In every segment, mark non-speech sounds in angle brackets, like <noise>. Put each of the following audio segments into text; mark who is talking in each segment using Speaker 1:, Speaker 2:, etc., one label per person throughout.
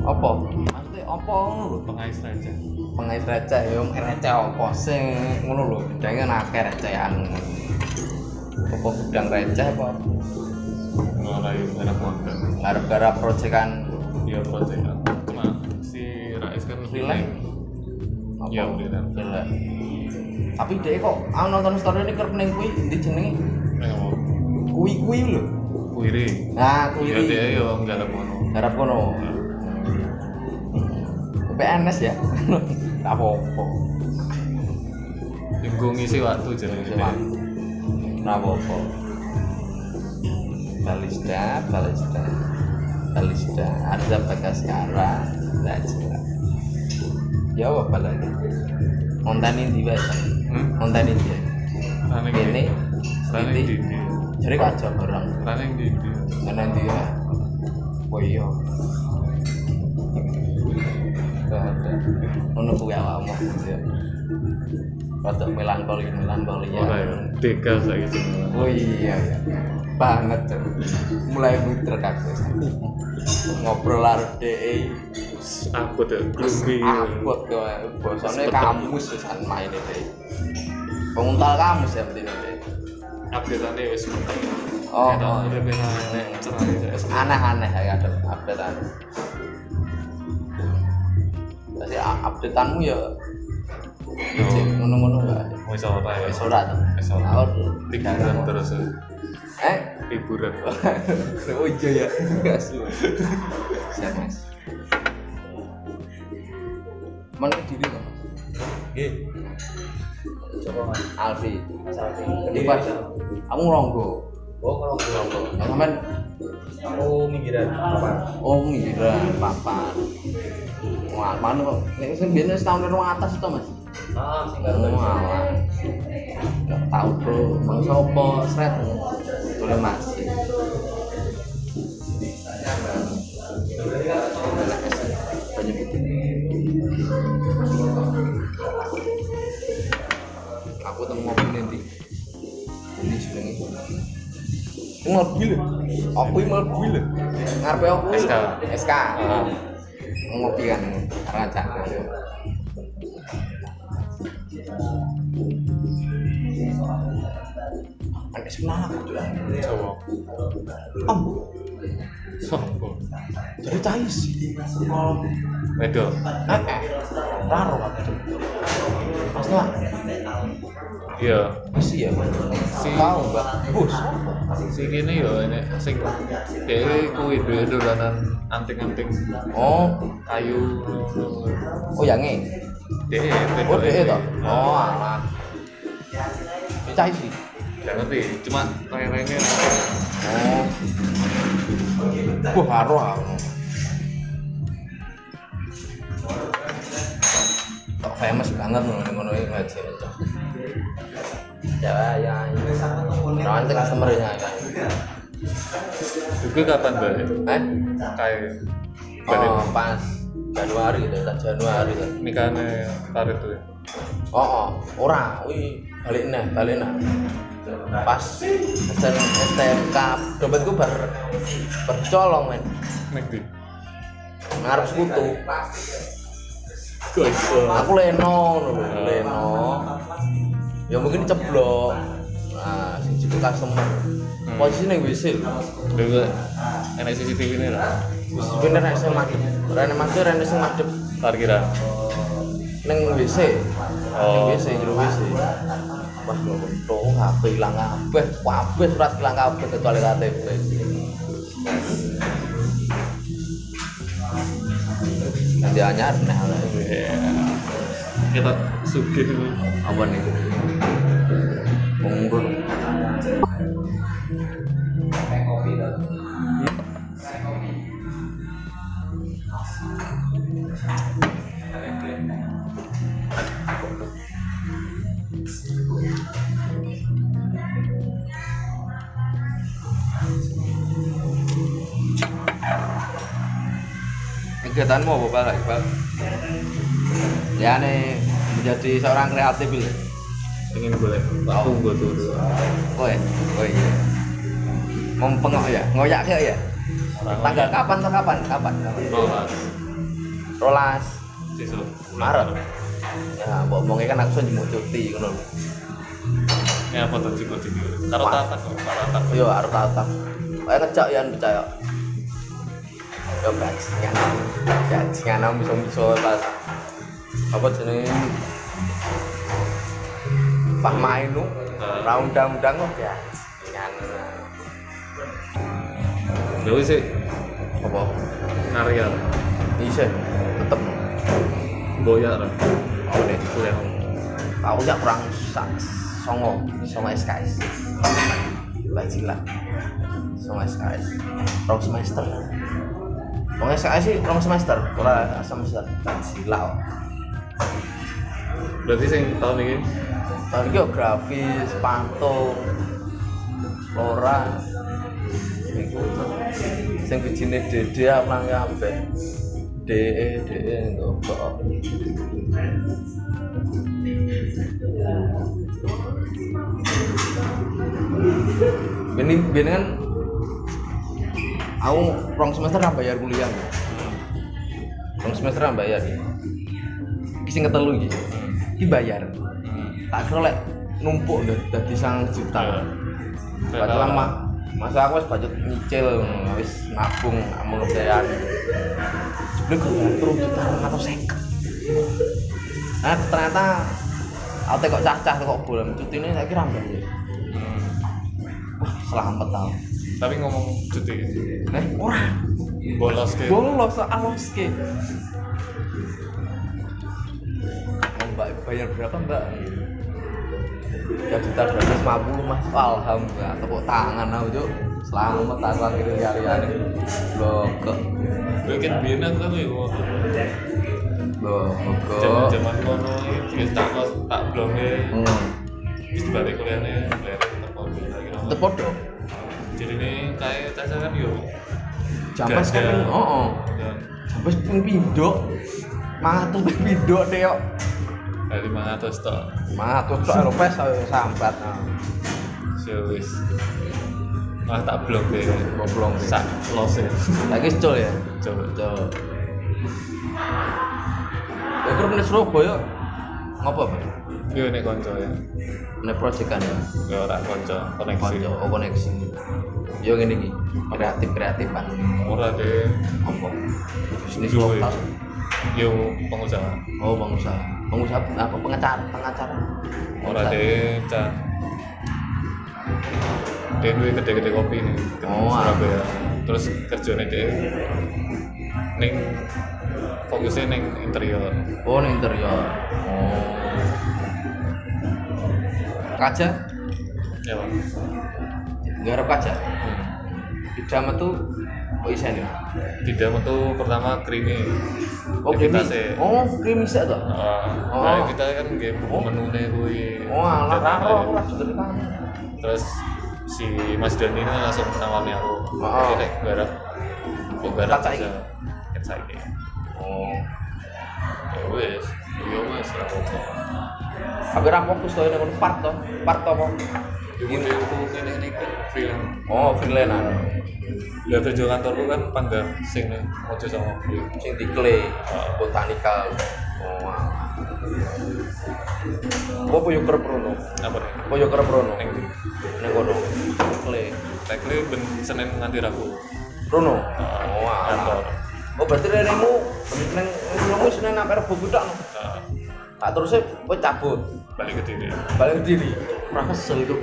Speaker 1: apa maksudnya apa ngono lho
Speaker 2: pengais raja
Speaker 1: pengais receh ya mung receh apa sing ngono lho bedane kan akeh recehan apa gudang receh apa
Speaker 2: ngelai anak makan
Speaker 1: gara-gara proyekan
Speaker 2: iya proyek cuma si Rais kan
Speaker 1: Freelance? apa
Speaker 2: Iya, freelance.
Speaker 1: Freelance. tapi dia kok aku nonton story ini kerep ning kuwi ndi jenenge
Speaker 2: nggak mau
Speaker 1: kuwi-kuwi lho
Speaker 2: kuiri
Speaker 1: nah kuwi
Speaker 2: ya dia yo nggak ada mono
Speaker 1: Harap kono. PNS ya. Tak apa-apa.
Speaker 2: yang gue ngisi waktu jadi
Speaker 1: Cuma. Tak apa-apa. Balista, Balista. Balista, Arza Bagaskara, Lajra. Ya apa lagi? Montanin di bawah.
Speaker 2: hmm?
Speaker 1: Montanin dia.
Speaker 2: Running
Speaker 1: Ini,
Speaker 2: running
Speaker 1: ini.
Speaker 2: di di
Speaker 1: Jadi kok aja bareng.
Speaker 2: running di di
Speaker 1: Karena dia. Oh iya. Gak ada. Ono kuwi awakmu ya. Rada melankoli melankoli ya.
Speaker 2: ora ya deka saya gitu
Speaker 1: Oh iya ya. Banget tuh. Mulai muter kabeh. Ngobrol karo DE.
Speaker 2: aku tuh gloomy
Speaker 1: Abot kowe. Bosone kamus pisan maine DE. Penguntal kamus ya penting DE.
Speaker 2: update-ane wis mentek
Speaker 1: Oh,
Speaker 2: Kita
Speaker 1: oh.
Speaker 2: udah pernah nek cerah CS
Speaker 1: Aneh-aneh ya ada updatean. Jadi a- updateanmu ya Cek, ngono-ngono gak ada.
Speaker 2: wis ora ya
Speaker 1: Wis ora to.
Speaker 2: Wis ora.
Speaker 1: Sahur.
Speaker 2: liburan terus ya.
Speaker 1: Eh,
Speaker 2: liburan
Speaker 1: oh iya ya. Asu. Siap, Mas. Mana diri to, Mas?
Speaker 3: Nggih. Coba Mas.
Speaker 1: Alfi.
Speaker 3: Salvi.
Speaker 1: Di
Speaker 2: Iya.
Speaker 1: pas aku ngonggo.
Speaker 3: Oh, ngerokok.
Speaker 1: Nah, sampean
Speaker 3: Aku minggiran apa?
Speaker 1: oh ngira papan. Wah, mana kok? Nek sing biyen setahun karo atas to, Mas.
Speaker 3: Ah, sing karo
Speaker 1: Baru malah. Gak tahu, Bro. Bang sopo sret. Boleh masih. Banyak itu. Aku temu ngopi nanti. Ini sudah nih. Ngopi lho. Aku ya? ini ya? ngopi lho. Ngarepe aku lho.
Speaker 2: SK.
Speaker 1: SK. Ngopi kan rancak. Ada semangat gitu lah.
Speaker 3: ya,
Speaker 2: cowok
Speaker 1: Ambo.
Speaker 2: sopo
Speaker 1: jadi cahis kalau
Speaker 2: wedo
Speaker 1: eh eh raro waktu pas lah
Speaker 2: iya
Speaker 1: masih ya
Speaker 2: Si-
Speaker 1: tahu mbak bos
Speaker 2: si kene yo ini sing dhewe kuwi duwe dolanan anting-anting
Speaker 1: oh
Speaker 2: kayu
Speaker 1: oh yang ini
Speaker 2: dhewe
Speaker 1: oh
Speaker 2: wedoke.
Speaker 1: deh toh oh
Speaker 2: Ah,
Speaker 1: alah cahis sih
Speaker 2: gak ngerti cuma rene-rene
Speaker 1: oh wah raro aku kok famous banget loh ngono iki aja ya ya ini nanti customernya ya
Speaker 2: juga kapan balik
Speaker 1: eh
Speaker 2: kayak balik
Speaker 1: Oh, pas Januari itu, tak Januari itu.
Speaker 2: nikahnya tarik tuh ya.
Speaker 1: Oh, oh, ora, wih, balik nah, balik nah. Pas SN STNK dompetku ber bercolong men,
Speaker 2: nek di
Speaker 1: ngarep sekutu.
Speaker 2: kok iso
Speaker 1: Aku leno, ngono lho, leno. Ya mungkin ceblok. Nah, sing jitu customer. Posisi ning WC lho.
Speaker 2: dulu enak CCTV ini lah
Speaker 1: Wis bener nek sing madhep. Rene masuk rene sing madhep
Speaker 2: parkiran
Speaker 1: ning WC. Ning
Speaker 2: oh
Speaker 1: WC jero WC. Wah, lho untung HP ilang kabeh, kabeh surat ilang kabeh kecuali KTP. Nanti anyar nah lah.
Speaker 2: iya. kita sugih ini
Speaker 1: Apa nih? Mundur.
Speaker 3: kopi to.
Speaker 1: Kegiatanmu apa Pak Iqbal? Ya nih menjadi seorang kreatif ini.
Speaker 2: ingin boleh aku gue tuh dulu
Speaker 1: Oh ya, oh iya. Mempengok ya, ngoyak ya ya.
Speaker 2: Orang Oh,
Speaker 1: Tanggal kapan? Tanggal kapan? Kapan? kapan?
Speaker 2: ngoyak.
Speaker 1: rolas
Speaker 2: sesuk
Speaker 1: Maret ya mbok omongi kan aku senjemuk cuti ngono lho
Speaker 2: Ya apa tuh cikgu cikgu? Karo tata kok, karo tata.
Speaker 1: yo harus tatap kayak ngejak ya percaya yo bajingan bajingan aku bisa-bisa pas apa jenis Fahmainu ra undang-undang oh, kok bajingan
Speaker 2: Lha wis sih, ya.
Speaker 1: apa
Speaker 2: karya
Speaker 1: bisa tetep
Speaker 2: boya ra.
Speaker 1: mau deh
Speaker 2: Kuliah.
Speaker 1: aku ya kurang sak songo songo SKS lagi lah songo SKS rong semester rong SKS sih rong semester kurang semester oh. lagi lah
Speaker 2: Berarti sing tahun ini
Speaker 1: tahun ini grafis pantung flora itu sing bijine dede apa kabeh de de untuk E kok ini ini kan aku rong semester nggak bayar kuliah rong semester nggak bayar Iki sing ketelu iki
Speaker 2: Iya.
Speaker 1: iki bayar tak kira lek numpuk udah dadi sang juta padahal lama masa aku wis budget nyicil wis nabung amul bayar sebelum gak bayar turun juta atau seket nah ternyata aku kok cacah kok bulan cuti ini saya kira ambil wah selamat tau
Speaker 2: Hmm. Tapi ngomong cuti.
Speaker 1: eh orang
Speaker 2: Bolos ke.
Speaker 1: bolos alos ke Oh, mbak bayar berapa mbak tiga juta dua ratus lima puluh mas alhamdulillah tepuk tangan aku cuk selamat aku akhirnya hari hari blokok
Speaker 2: Mungkin biyen aku kan yo waktu
Speaker 1: blokok
Speaker 2: zaman-zaman kono iki tak kos tak blonge
Speaker 1: hmm.
Speaker 2: wis dibalik kuliahnya bayar tetep kok. Kira-kira.
Speaker 1: tepuk dong
Speaker 2: Jadi ini kayak tas kan yo.
Speaker 1: jampas kan
Speaker 2: Dadah.
Speaker 1: oh, oh.
Speaker 2: Dan
Speaker 1: jampas pun pindok mah tuh pindok deh yuk
Speaker 2: dari 500 tok.
Speaker 1: mah tuh soal lopes sambat nah.
Speaker 2: So wis. Malah tak blonge.
Speaker 1: goblong sih
Speaker 2: Sak lose.
Speaker 1: lagi col ya
Speaker 2: Coba.
Speaker 1: Betul. Ya kurang di Surabaya. Ngapa, Pak?
Speaker 2: Yo nek konco ya.
Speaker 1: Ini proyek kan ya.
Speaker 2: Yo ora konco, koneksi.
Speaker 1: Konco, oh, koneksi. Yo ngene iki, kreatif-kreatif Pak.
Speaker 2: Ora deh.
Speaker 1: Apa? Bisnis
Speaker 2: Duwe.
Speaker 1: lokal.
Speaker 2: Yo pengusaha.
Speaker 1: Oh, pengusaha. Pengusaha apa pengacara, pengacara.
Speaker 2: Ora deh, cah. Dia duwe gede-gede kopi nih, ke
Speaker 1: Oh, ah.
Speaker 2: Surabaya. Terus kerjanya dia neng fokusnya neng interior.
Speaker 1: Oh, ini interior. Oh. Kaca?
Speaker 2: Ya Pak.
Speaker 1: Garap kaca. Idam itu kok isen ya?
Speaker 2: Tidak metu pertama creamy.
Speaker 1: Oh, krimi.
Speaker 2: Aktivitasnya.
Speaker 1: Oh, krimi sik toh?
Speaker 2: Ah,
Speaker 1: Oh.
Speaker 2: Nah, kita kan game
Speaker 1: Oh.
Speaker 2: menu nih kui.
Speaker 1: Oh, alah
Speaker 2: data
Speaker 1: raro aku lah dari kamu.
Speaker 2: terus si Mas Dani ini langsung nawani aku
Speaker 1: Oh.
Speaker 2: oh. kayak garap kok garap
Speaker 1: Tak saiki.
Speaker 2: aja kan saiki
Speaker 1: Oh.
Speaker 2: ya wes ya wes lah pokok
Speaker 1: Tapi ra fokus to nek part to. Part to apa?
Speaker 2: ibu aku kene ini kan film
Speaker 1: Oh, freelance an.
Speaker 2: lihat tujuh kantorku kan panggar sing mojo sama gue
Speaker 1: Sing dikle eh, botanikal. Oh. Apa yo kerep rono?
Speaker 2: apa nih
Speaker 1: Apa yo kerep rono?
Speaker 2: neng
Speaker 1: Ning kono. Dikle.
Speaker 2: tekli ben senin nganti rabu
Speaker 1: Rono.
Speaker 2: Ah,
Speaker 1: Oh, alah.
Speaker 2: kantor
Speaker 1: Oh, berarti renemu ning rono Senin sampai Rebo kudak. no?
Speaker 2: Ah,
Speaker 1: Tak terusnya kowe cabut.
Speaker 2: balik ke diri
Speaker 1: Balik diri. Ora kesel itu.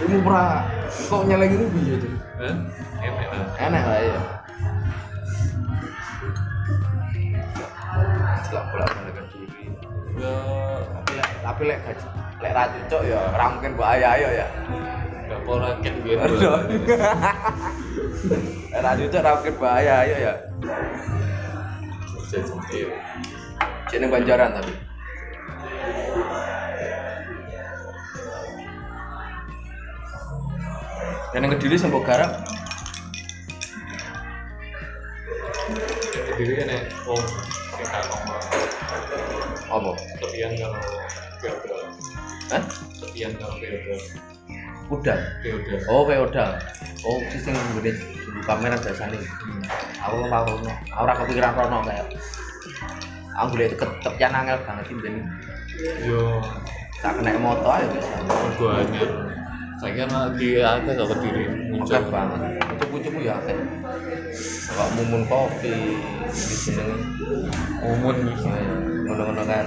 Speaker 1: Kamu pra kok nyeleng ini piye itu?
Speaker 2: kan ini lah
Speaker 1: enak lah iya celak pula mereka diri
Speaker 2: ya
Speaker 1: tapi lek tapi lek gaji lek ra cocok ya ra mungkin mbok ayo ayo ya
Speaker 2: gak pora kayak
Speaker 1: Aduh.
Speaker 2: gitu
Speaker 1: <laughs> lek ra cocok ra mungkin mbok ayo ayo ya
Speaker 2: Iya.
Speaker 1: cek ning Banjaran tapi Dan yang kediri sembok garap,
Speaker 2: Jadi kan nek wong sing gak ngomong
Speaker 1: apa?
Speaker 2: tepian karo feodal,
Speaker 1: Hah?
Speaker 2: tepian karo feodal,
Speaker 1: Udang.
Speaker 2: feodal.
Speaker 1: Oh, feodal. Oh, sih yang gede kamera biasa nih. aku ora ono aku ora kepikiran rono kayak aku boleh ketok yang angel banget iki ben
Speaker 2: yo
Speaker 1: tak kena moto ayo wis
Speaker 2: mergo anyar saya kan lagi ada gak berdiri muncul
Speaker 1: Mantap banget cupu-cupu ya akeh kok mumun kopi di jenenge
Speaker 2: umum
Speaker 1: Ya,
Speaker 2: misalnya
Speaker 1: ngono-ngono kan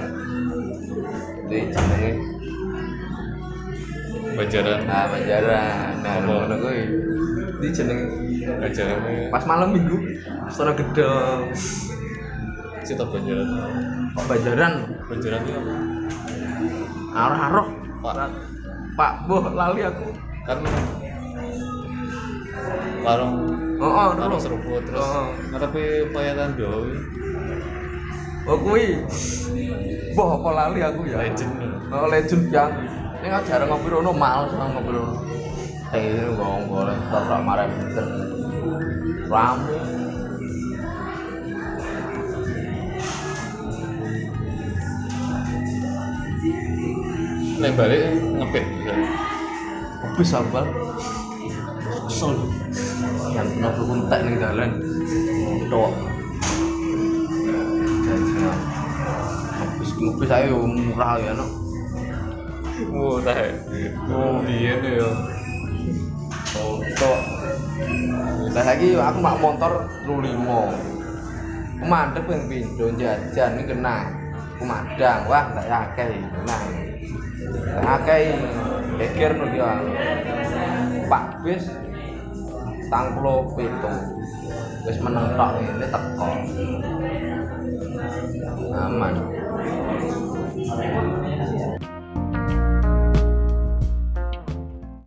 Speaker 1: di jenenge
Speaker 2: bajaran
Speaker 1: nah Banjaran nah
Speaker 2: Apa?
Speaker 1: ngono kuwi di jenenge
Speaker 2: bajaran
Speaker 1: pas malam minggu sono gedong
Speaker 2: sih tau bajaran
Speaker 1: kok Banjaran
Speaker 2: bajaran itu apa?
Speaker 1: arah-arah
Speaker 2: pak
Speaker 1: Pak Boh lali aku
Speaker 2: kan warung
Speaker 1: oh oh dulu
Speaker 2: warung seruput terus
Speaker 1: Oh.
Speaker 2: ngarepe payatan doi
Speaker 1: oh kui Boh kok lali aku ya
Speaker 2: legend
Speaker 1: oh legend yang ini kan jarang ngopi rono mahal sama ngopi rono eh ini ngomong boleh terus tak marah pinter ramu
Speaker 2: neng balik ngepit ya.
Speaker 1: habis sambal kesel yang pernah berkuntek nih jalan doang habis ngopi saya yo murah ya no
Speaker 2: Wah, tak. Oh, iya ya.
Speaker 1: Untuk Lah lagi aku mak motor 35. Aku mandek ping pindho jajan iki kena. Aku madang, wah gak akeh iki, kena. Gak akeh geger no ya. Pak bis tang puluh pitu. Wis meneng tok ini teko. Aman.